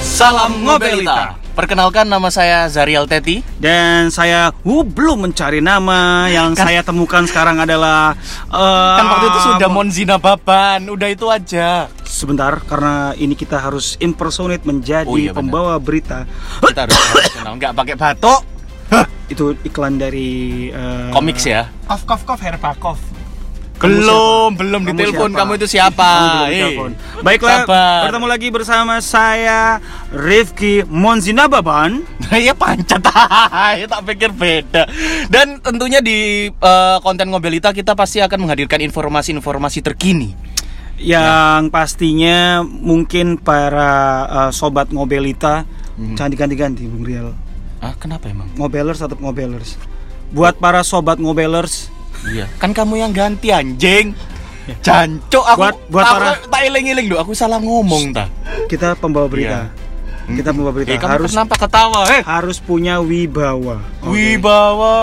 Salam Ngobelita. Perkenalkan nama saya Zariel Teti. Dan saya uh, belum mencari nama. Yang saya temukan sekarang adalah eh, Kan waktu itu sudah Monzina Baban, udah itu aja. Sebentar karena ini kita harus impersonate menjadi Oh, iya, benar. pembawa berita. Kita harus harus kenal, nggak pakai batok. Itu iklan dari eh, Komiks ya. Kof kof kof Herbakov. Kamu belum, siapa? belum Kamu ditelepon siapa? kamu itu siapa? Kamu belum Eh, ditelepon. Baiklah, sabar. bertemu lagi bersama saya Rifki Monzinababan. Iya pancet ya tak pikir beda. Dan tentunya di eh, konten Ngobelita kita pasti akan menghadirkan informasi-informasi terkini. yang pastinya mungkin para uh, sobat ngobelita Mhm. jangan diganti-ganti Bung Riel Ah, kenapa emang? ngobelers tetap ngobelers buat para sobat ngobelers Iya. Kan kamu yang ganti anjing. Jancok aku. Buat- buat aku para- tak iling-iling loh, aku salah ngomong ta. kita pembawa berita kita pembawa berita Iya. Eh, kamu harus kenapa ketawa? Eh, harus punya wibawa Oh. Wibawa.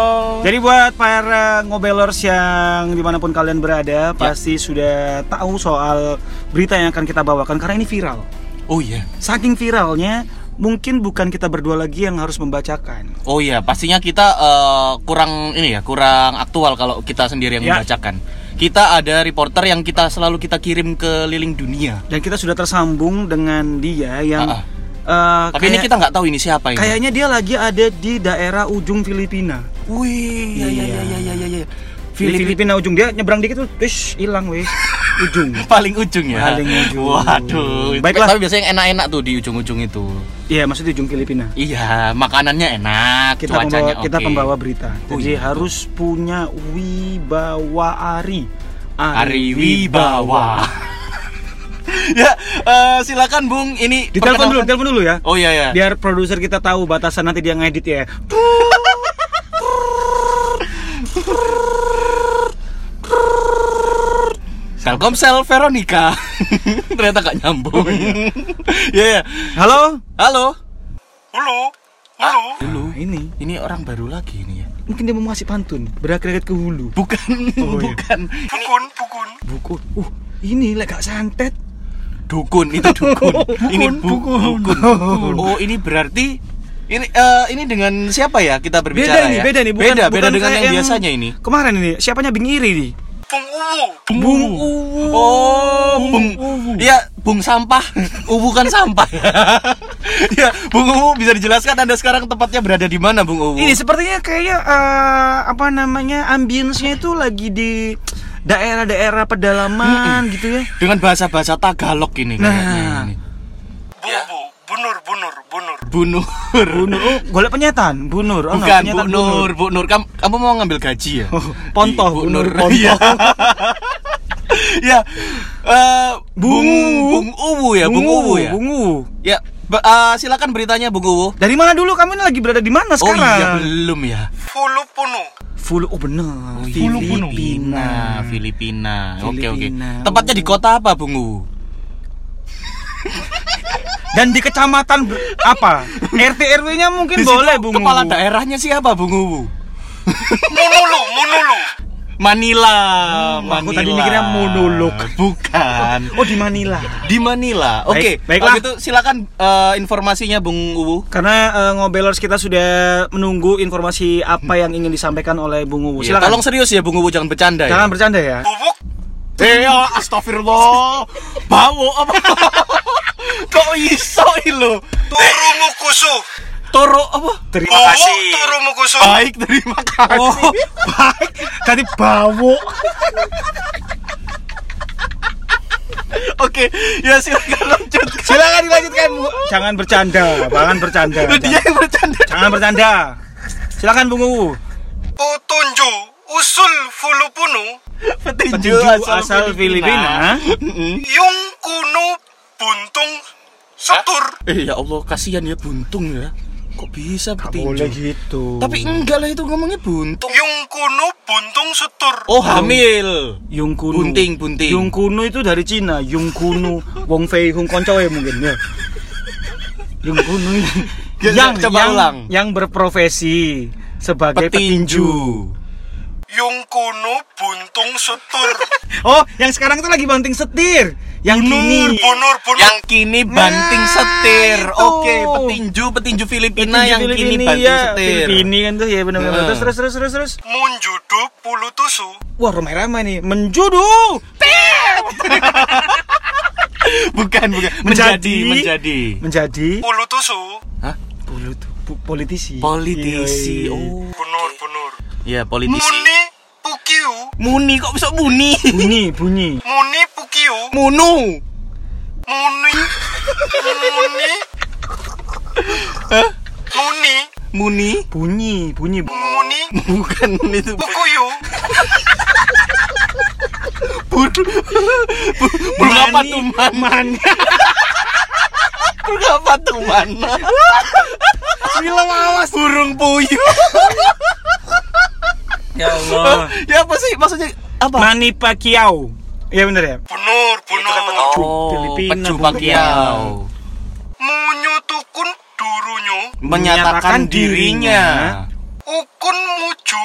jadi buat para ngobelers yang dimanapun Ya. kalian berada pasti sudah tahu soal berita yang akan kita bawakan karena ini viral Oh iya. saking viralnya mungkin bukan kita berdua lagi yang harus membacakan Oh iya, pastinya kita eh, kurang ini ya, kurang aktual kalau kita sendiri yang Ya. membacakan. Kita ada reporter yang kita selalu kita kirim keliling dunia. dan kita sudah tersambung dengan dia Ah, yang ah. eh, Tapi ini kayak- kita nggak tahu ini siapa ini. kayaknya dia lagi ada di daerah ujung Filipina. Wih, ya ya ya ya ya ya. ya. Di Filipina Filipina ujung dia nyebrang dikit tuh, wis hilang weh. Ujung. paling ujung ya. Paling ujung. Waduh. Baiklah. Tapi biasanya yang enak-enak tuh di ujung-ujung itu. Iya, maksudnya di ujung Filipina. Iya, makanannya enak, Kita pembawa, cuacanya oke. kita pembawa berita. Oh, iya, Jadi harus punya wibawa Ari. Ari Wibawa. ya, eh, silakan Bung. Ini Ditelepon dulu, perkenalkan- telepon dulu ya. Oh iya ya. Biar produser kita tahu batasan nanti dia ngedit ya. Telkomsel Veronica. Ternyata gak Oh, nyambung. iya. Ya. ya. Halo? Halo. Hulu. ini. Ini orang baru lagi ini ya. Mungkin dia mau ngasih pantun. Berakhir-akhir ke hulu. Bukan, Oh, iya. bukan. Buku. Uh, ini lah gak santet. Dukun itu dukun. ini bu- Dukun, dukun. dukun. Oh, ini berarti ini eh, ini dengan siapa ya kita Beda berbicara nih, ya? beda nih. Bukan, beda, beda bukan dengan kayak yang, biasanya ini. Kemarin ini, siapanya Bing Iri nih? Bung Uwu. Oh, bung, Uwu. ya bung sampah, uwu kan sampah. ya, bung uwu bisa dijelaskan anda sekarang tepatnya berada di mana, bung uwu? Ini sepertinya kayaknya eh, apa namanya ambience-nya itu lagi di daerah-daerah pedalaman gitu ya. dengan bahasa bahasa tagalog ini. Nah. kayaknya ini. Ya, bunur, bunur, bunur, Bu Nur, oh, golek penyetan, Bu Nur. Oh, Bukan enggak, Bu penyetan Nur, Bu Nur, kamu, kamu mau ngambil gaji ya? Oh, pontoh, Di- Bu Nur, pontoh. Iya. ya. eh, bung, Bung- bung Uwu ya, Bung Uwu ya. Bung Uwu. Ya, be- eh, silakan beritanya Bung Uwu. Dari mana dulu kamu ini lagi berada di mana Oh sekarang? iya belum ya. Full oh benar. iya, Filipina, Filipina. Oke oke. Filipina. Tepatnya di kota apa, Bung Uwu? Dan di kecamatan ber- apa? RT RW-nya mungkin Di situ Ya, boleh, Bung Kepala Uwu. daerahnya siapa, Bung Uwu? Manila, Manila. Hmm, aku tadi mikirnya monolog. Bukan. Oh, di Manila. di Manila. Oke, Baik, baiklah. kalau gitu silakan eh, informasinya Bung Uwu. Karena eh, ngobelers kita sudah menunggu informasi apa yang ingin disampaikan oleh Bung Uwu. Ya, Oh, Silakan. tolong serius ya Bung Uwu jangan bercanda Jangan ya. bercanda ya. Eh, ya, astagfirullah. Bawo apa? Kok iso lo? Toro apa? Terima Oh. Baik, terima kasih. Oh, baik. Tadi bawo. Oke, ya silakan lanjut. Silakan dilanjutkan, Bu. Jangan bercanda, jangan bercanda. Lu dia yang bercanda. Jangan bercanda. Silakan Bung Uwu. Iya, Petinju, Petinju asal Filipina. Eh ya Allah, kasihan ya buntung ya. Kok bisa petinju? gitu. Tapi enggak lah itu ngomongnya buntung. Yung kuno buntung sutur. Oh, hamil. Yung Kuno. Bunting, bunting. Yung Kuno itu dari Cina. Yung Kuno, Wong Fei Hung koncoe mungkin ya. Yung Kuno ini. Ya, yang coba yang, ulang. yang berprofesi sebagai Petinju. petinju. Yung kuno buntung sutur. Oh, yang sekarang itu lagi banting setir. yang Bunur, kini bunur, bunur. yang kini banting Nah, setir. itu. iya, Oke, petinju petinju Filipina Nah, yang kini banting setir. ini kan tuh ya benar-benar Nah. terus terus terus terus terus Munjudu pulu tusu. wah ramai-ramai nih menjudu Bukan, bukan. Menjadi, menjadi. menjadi Pulu tusu. Hah? Polit- po- politisi Iya, Politisi. Yoi. Oh. Bunur, bunur. Ya, politisi. Muni pukiu. Muni kok bisa muni? bunyi bunyi Muni pukiu. Munu. Muni. Muni. Muni. Muni. bunyi bunyi Muni. Bukan itu. Pukuyu. Burung apa tuh, Man? man Burung apa tuh, Man? bilang awas Burung puyuh. ya Allah ya apa sih maksudnya apa? Manny Pacquiao ya bener ya Bunur, bunur. Oh, Filipina, Pecu Burung Pacquiao. Munyu tukun durunyu. menyatakan dirinya Ukun muju.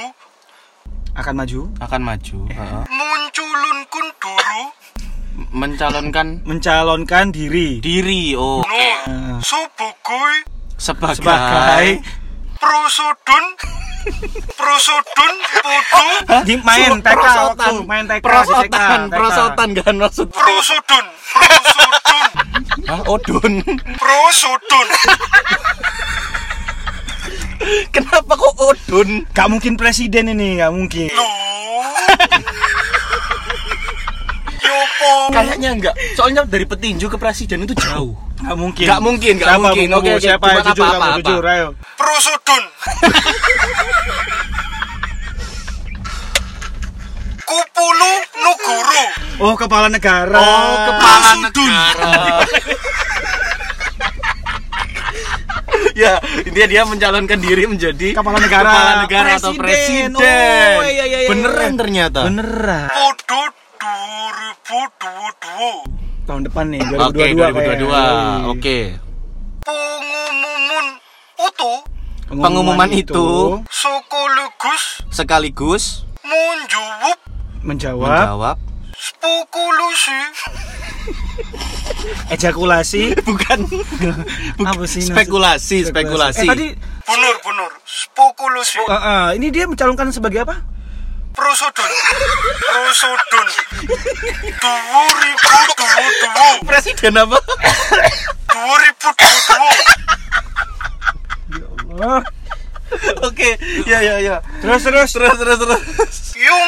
akan maju akan maju Uh-huh. heeh. Munculun kun duru. mencalonkan mencalonkan diri diri oh Nur. Subukui. sebagai, sebagai Prosodun. Prosodun putu. di main TK perosotan waktu main TK di TK, perosotan TK. perosotan kan maksud Prosudun. Prosudun. Hah, odun Prosudun. kenapa kok odun Gak mungkin presiden ini, gak mungkin. Loh. Yopo. kayaknya enggak soalnya dari petinju ke presiden itu jauh Gak mungkin. Gak mungkin, gak Siapa, mungkin. Bungku? Oke, oke. siapa ya? Cuman jujur, apa, kamu apa, jujur, apa. ayo. Prosudun. Kupulu Nuguru. Oh, kepala negara. oh kepala Prosudun. negara ya intinya dia mencalonkan diri menjadi Kepala negara. kepala negara atau Presiden. presiden Oh, iya, iya, iya, beneran iya. ternyata Beneran. Podo 2022. Tahun depan nih, 2022. Oke, 2022. kayaknya. Oke. Pengumuman utu. Pengumuman, Pengumuman itu Sokolugus. sekaligus Munjuwup. menjawab menjawab Spukulusi. ejakulasi bukan, bukan Apa sih maksud- spekulasi spekulasi. Eh, tadi Bunur, bunur. Spukulusi. eh, eh, ini dia mencalonkan sebagai apa? Prosodon. Prosodon. Dua ribu dua dua. presiden apa? Dua ribu dua dua. Oh, Oke, ya ya ya. terus terus Terus terus terus. Yung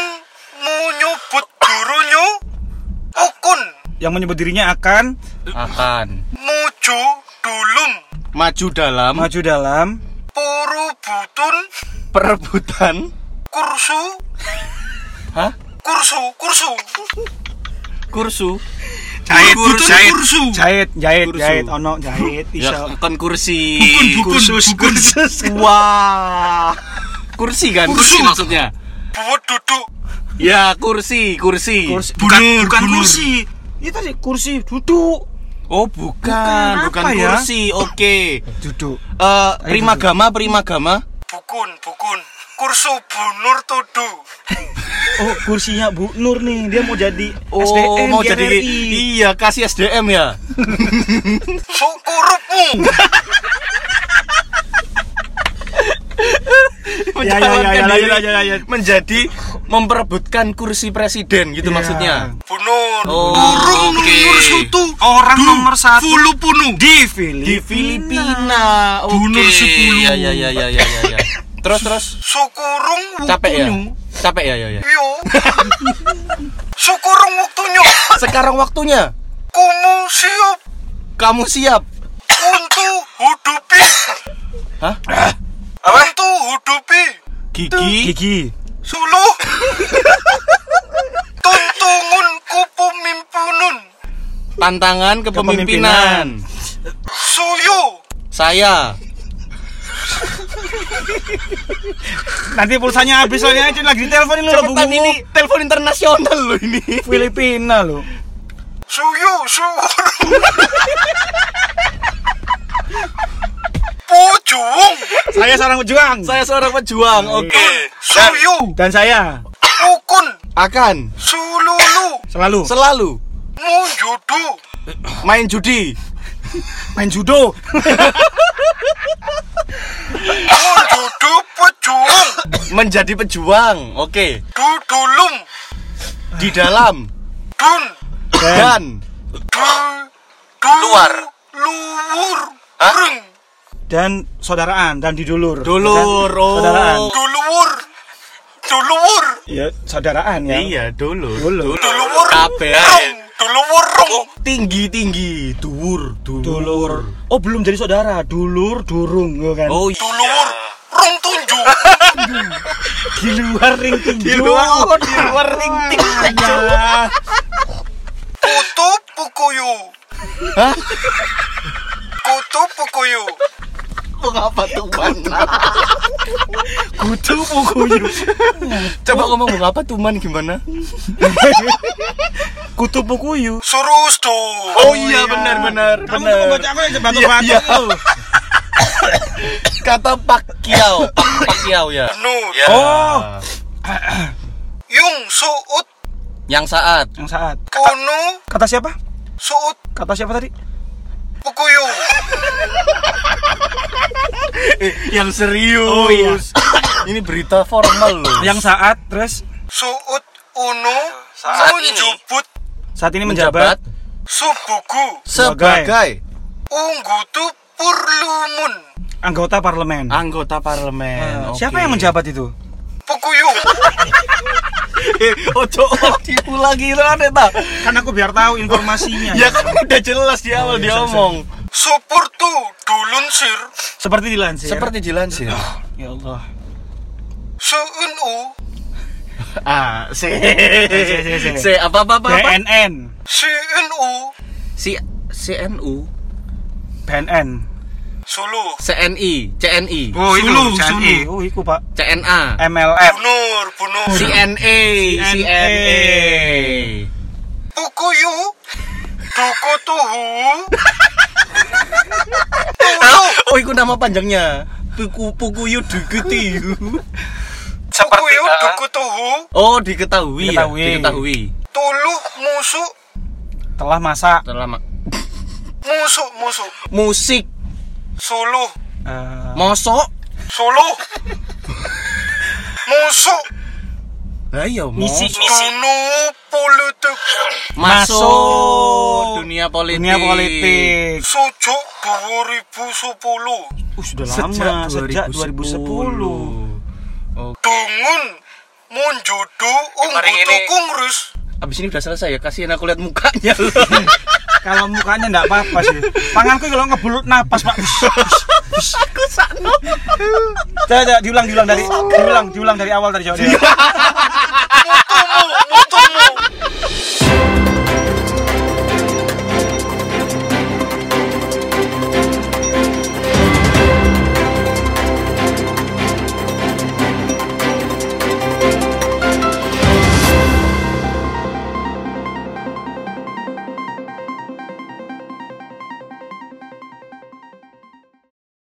menyebut gurunya ukun yang menyebut dirinya akan Akan muju dulum maju dalam maju dalam puru butun perebutan. kursu Hah? kursu kursu Kursu. Jahit, Kur- butun kursu. jahit jahit Kursu. jahit ono jahit Ya, iso kan kursi. kursus kursus Wah. Kursi kan? Kursi Kursu. maksudnya. buat duduk Ya, kursi, kursi. kursi Bukan- bukan kursi. itu tadi kursi duduk Oh, bukan, bukan, Bukan apa ya? kursi. Oke. duduk Eh, primagama, primagama. bukun bukun kursu bunur tudu oh kursinya Bu Nur nih dia mau jadi Oh, SDM mau di jadi RRI. iya kasih SDM ya. sukurupmu ya, ya, ya, Mencalonkan lanjut, diri lanjut, lanjut. menjadi memperebutkan kursi presiden gitu Iya. maksudnya. bunur Oh, Urung oke. nomor satu orang Du- nomor satu Fulu punu di Filipina Di Filipina. Nah. Oke. Bunur 10. Ya ya ya ya ya ya. ya. Terus terus Sukurung capek ya. wuktunyu. Capek ya ya ya. Yo. Sukurung wuktunya Sekarang waktunya kumu siap kamu siap. untuk hudupi. Hah? Apa? Untuk hudupi Gigi gigi suluh tuntungun kupu mimpunun tantangan kepemimpinan. suyu Saya nanti pulsanya habis soalnya aja lagi teleponin lo Cepetan ini telepon internasional loh ini. Filipina lo suyu sukurung. Pujuung saya seorang pejuang Saya seorang pejuang. Oke. suyu dan saya ukun Akan sululu selalu selalu Munjudu Main judi. Main judo. Munjudu pejuang Menjadi pejuang. Oke. Dudulum Di dalam Dun dan Du Du Luar. Luwur Hah? Reng Dan saudaraan dan didulur. Dulur, Kan? oh. Saudaraan. Duluwur Duluwur Ya, saudaraan ya. Iya, dulu. Dulur. Duluwur Kabeh. Oh, Reng Duluwur Reng Tinggi-tinggi, duwur, duwur. Dulur. Oh, belum jadi saudara. Dulur, durung ya kan. Oh, iya. Duluwur Reng tunjuk di luar ring tinju. Di luar, oh, di luar ring tinju. Kutu pukuyu Hah? Kutu pukuyu Mengapa tuh man? Kudu pukuyu. Coba ngomong mengapa tuman gimana? Kutu pukuyu. Surustu Oh, iya benar-benar Kamu tuh pembaca aku yang jebak banget Iya, iya. lu. Kata Pak Kiao, Pak Kiao ya. Nur Ya. Oh, Anu. Yung suut Yang saat yang saat. Kunu Kata siapa? suut Kata siapa tadi? pukuyu yang serius. Oh, iya. Ini berita formal loh. Yang saat terus Suut Uno Saat ini. Munjubut saat ini menjabat, Subugu sebagai Unggutu Purlumun anggota parlemen. anggota parlemen. Eh, Siapa yang menjabat itu? Pukuyu Ojo tipu lagi rane ta. Kan aku biar tahu informasinya. Ya kan udah jelas di awal dia ngomong. Supurtu Dulun Sir Seperti dilansir. Seperti dilansir. Ya Allah. Suunu Ah, se se, se. se apa apa apa. apa? BNN. Siunu Si CNU, BNN. Sulu CNI, CNI, Oh Sulu, Sulu. Oh, iku Pak. CNA, MLF. Bunur Bunur E. CNA, CNA. Pukuyu Duku Tuhu Oh, itu nama panjangnya. Puku Puku Yudugiti. Seperti Pukuyu ah, Duku Tuhu Oh, diketahui, ya? Diketahui. diketahui. Tuluh Musu Telah masak. Terlama. Musu Musu Musik, Sulu Eh, mosok. Sulu Musu Lah iya, Misi. mosok. Dunu Pulutuk Masuk. Masuk dunia politik. dunia politik. Sujuk 2010 Uh, sudah Sejak lama, sejak 2010. 2010. Dungun Munjudu Mari Unggutu ini. Kungris Abis ini udah selesai ya, kasihin aku lihat mukanya. Kalau mukanya enggak apa-apa sih. Tanganku kalau ngebulut napas, Pak. Aku sakno. Iya. Coba, coba, diulang diulang dari diulang diulang dari awal tadi coba.